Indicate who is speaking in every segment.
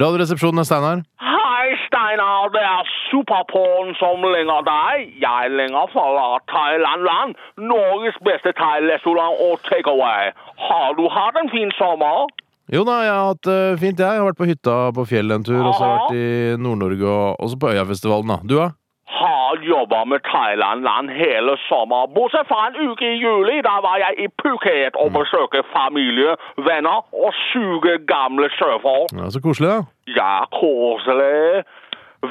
Speaker 1: Radioresepsjonen er Steinar.
Speaker 2: Hei, Steinar. Det er Superporn som lenger deg. Jeg lenger fra Thailand-land. Norges beste thairestaurant og takeaway. Har du hatt en fin sommer?
Speaker 1: Jo da, jeg har hatt det fint, jeg. Jeg har vært på hytta på fjellet en tur, og så har jeg vært i Nord-Norge og også på Øyafestivalen, da. Du, da?
Speaker 2: Har jobba med Thailand-land hele sommer, bortsett fra en uke i juli. Da var jeg i Phuket og besøkte familie, venner og syke gamle sjøfolk.
Speaker 1: Ja, så koselig, da.
Speaker 2: Ja, koselig.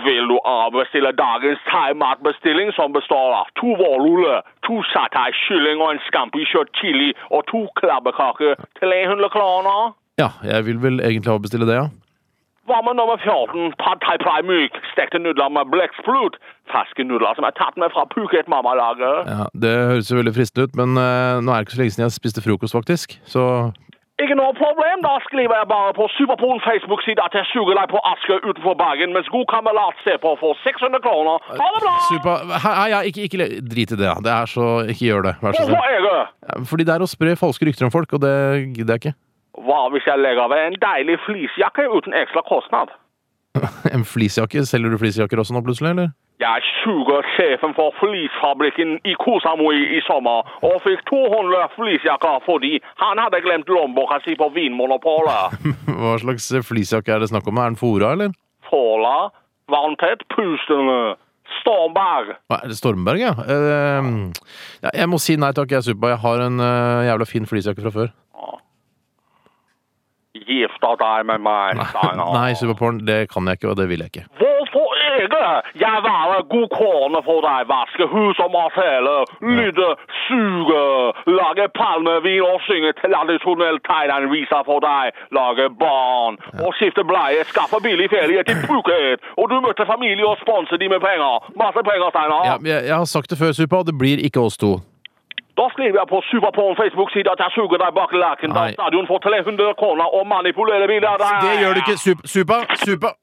Speaker 2: Vil du avbestille dagens thaimatbestilling, som består av to vårruller, to satai-kylling og en skampi-kjøtt chili og to klabbekaker til 100 kroner?
Speaker 1: Ja, jeg vil vel egentlig avbestille det, ja.
Speaker 2: Hva med nummer 14? Pad thai prai myk, stekte nudler med blekksprut. Ferske nudler som er tatt med fra Phuket-mammalaget.
Speaker 1: ja. Det høres jo veldig fristende ut, men eh, nå er det ikke så lenge siden jeg spiste frokost, faktisk. Så
Speaker 2: Ikke noe problem, da skriver jeg bare på Superpolen Facebook-side at jeg suger deg på Askøy utenfor Bergen, mens god kamerat ser på for 600 kroner. Ha det bra!
Speaker 1: Supa Hei, hei, hei, ikke, ikke le- drit i det, da. Det er så Ikke gjør det, vær så
Speaker 2: Hvorfor
Speaker 1: snill.
Speaker 2: ikke?
Speaker 1: Fordi det er å spre falske rykter om folk, og det gidder jeg ikke.
Speaker 2: Hva hvis jeg legger ved en deilig fleecejakke uten ekstra kostnad?
Speaker 1: En fleecejakke? Selger du fleecejakker også nå, plutselig, eller?
Speaker 2: Jeg suger sjefen for fleecefabrikken i Kosamui i sommer, og fikk 200 fleecejakker fordi han hadde glemt lommeboka si på Vinmonopolet.
Speaker 1: Hva slags fleecejakke er det snakk om? Er den fora, eller?
Speaker 2: Fåla, vanntett, pustende, stormberg.
Speaker 1: Hva, Er det Stormberg, ja? Eh, ja? Jeg må si nei takk, jeg er Supa. Jeg har en eh, jævla fin fleecejakke fra før.
Speaker 2: Gifter deg med meg, Steinar.
Speaker 1: Nei, Supaporn, det kan jeg ikke, og det vil jeg ikke.
Speaker 2: Hvorfor ikke? Jeg være god kone for deg, vaske hus og matele, lytte, suge, lage palmevin og synge tradisjonell thailandvisa for deg, lage barn og skifte bleie, skaffe billig ferie til Phuket, og du møtte familie og sponse de med penger. Masse penger, Steinar.
Speaker 1: Ja, jeg, jeg har sagt det før, Supa, og det blir ikke oss to.
Speaker 2: Da skriver jeg på Superporn Facebook-side at jeg suger deg bak laken da
Speaker 1: Nei.
Speaker 2: stadion får 300 kroner og manipulerer bilder av deg.
Speaker 1: Det gjør du ikke, Sup- Supa! Supa!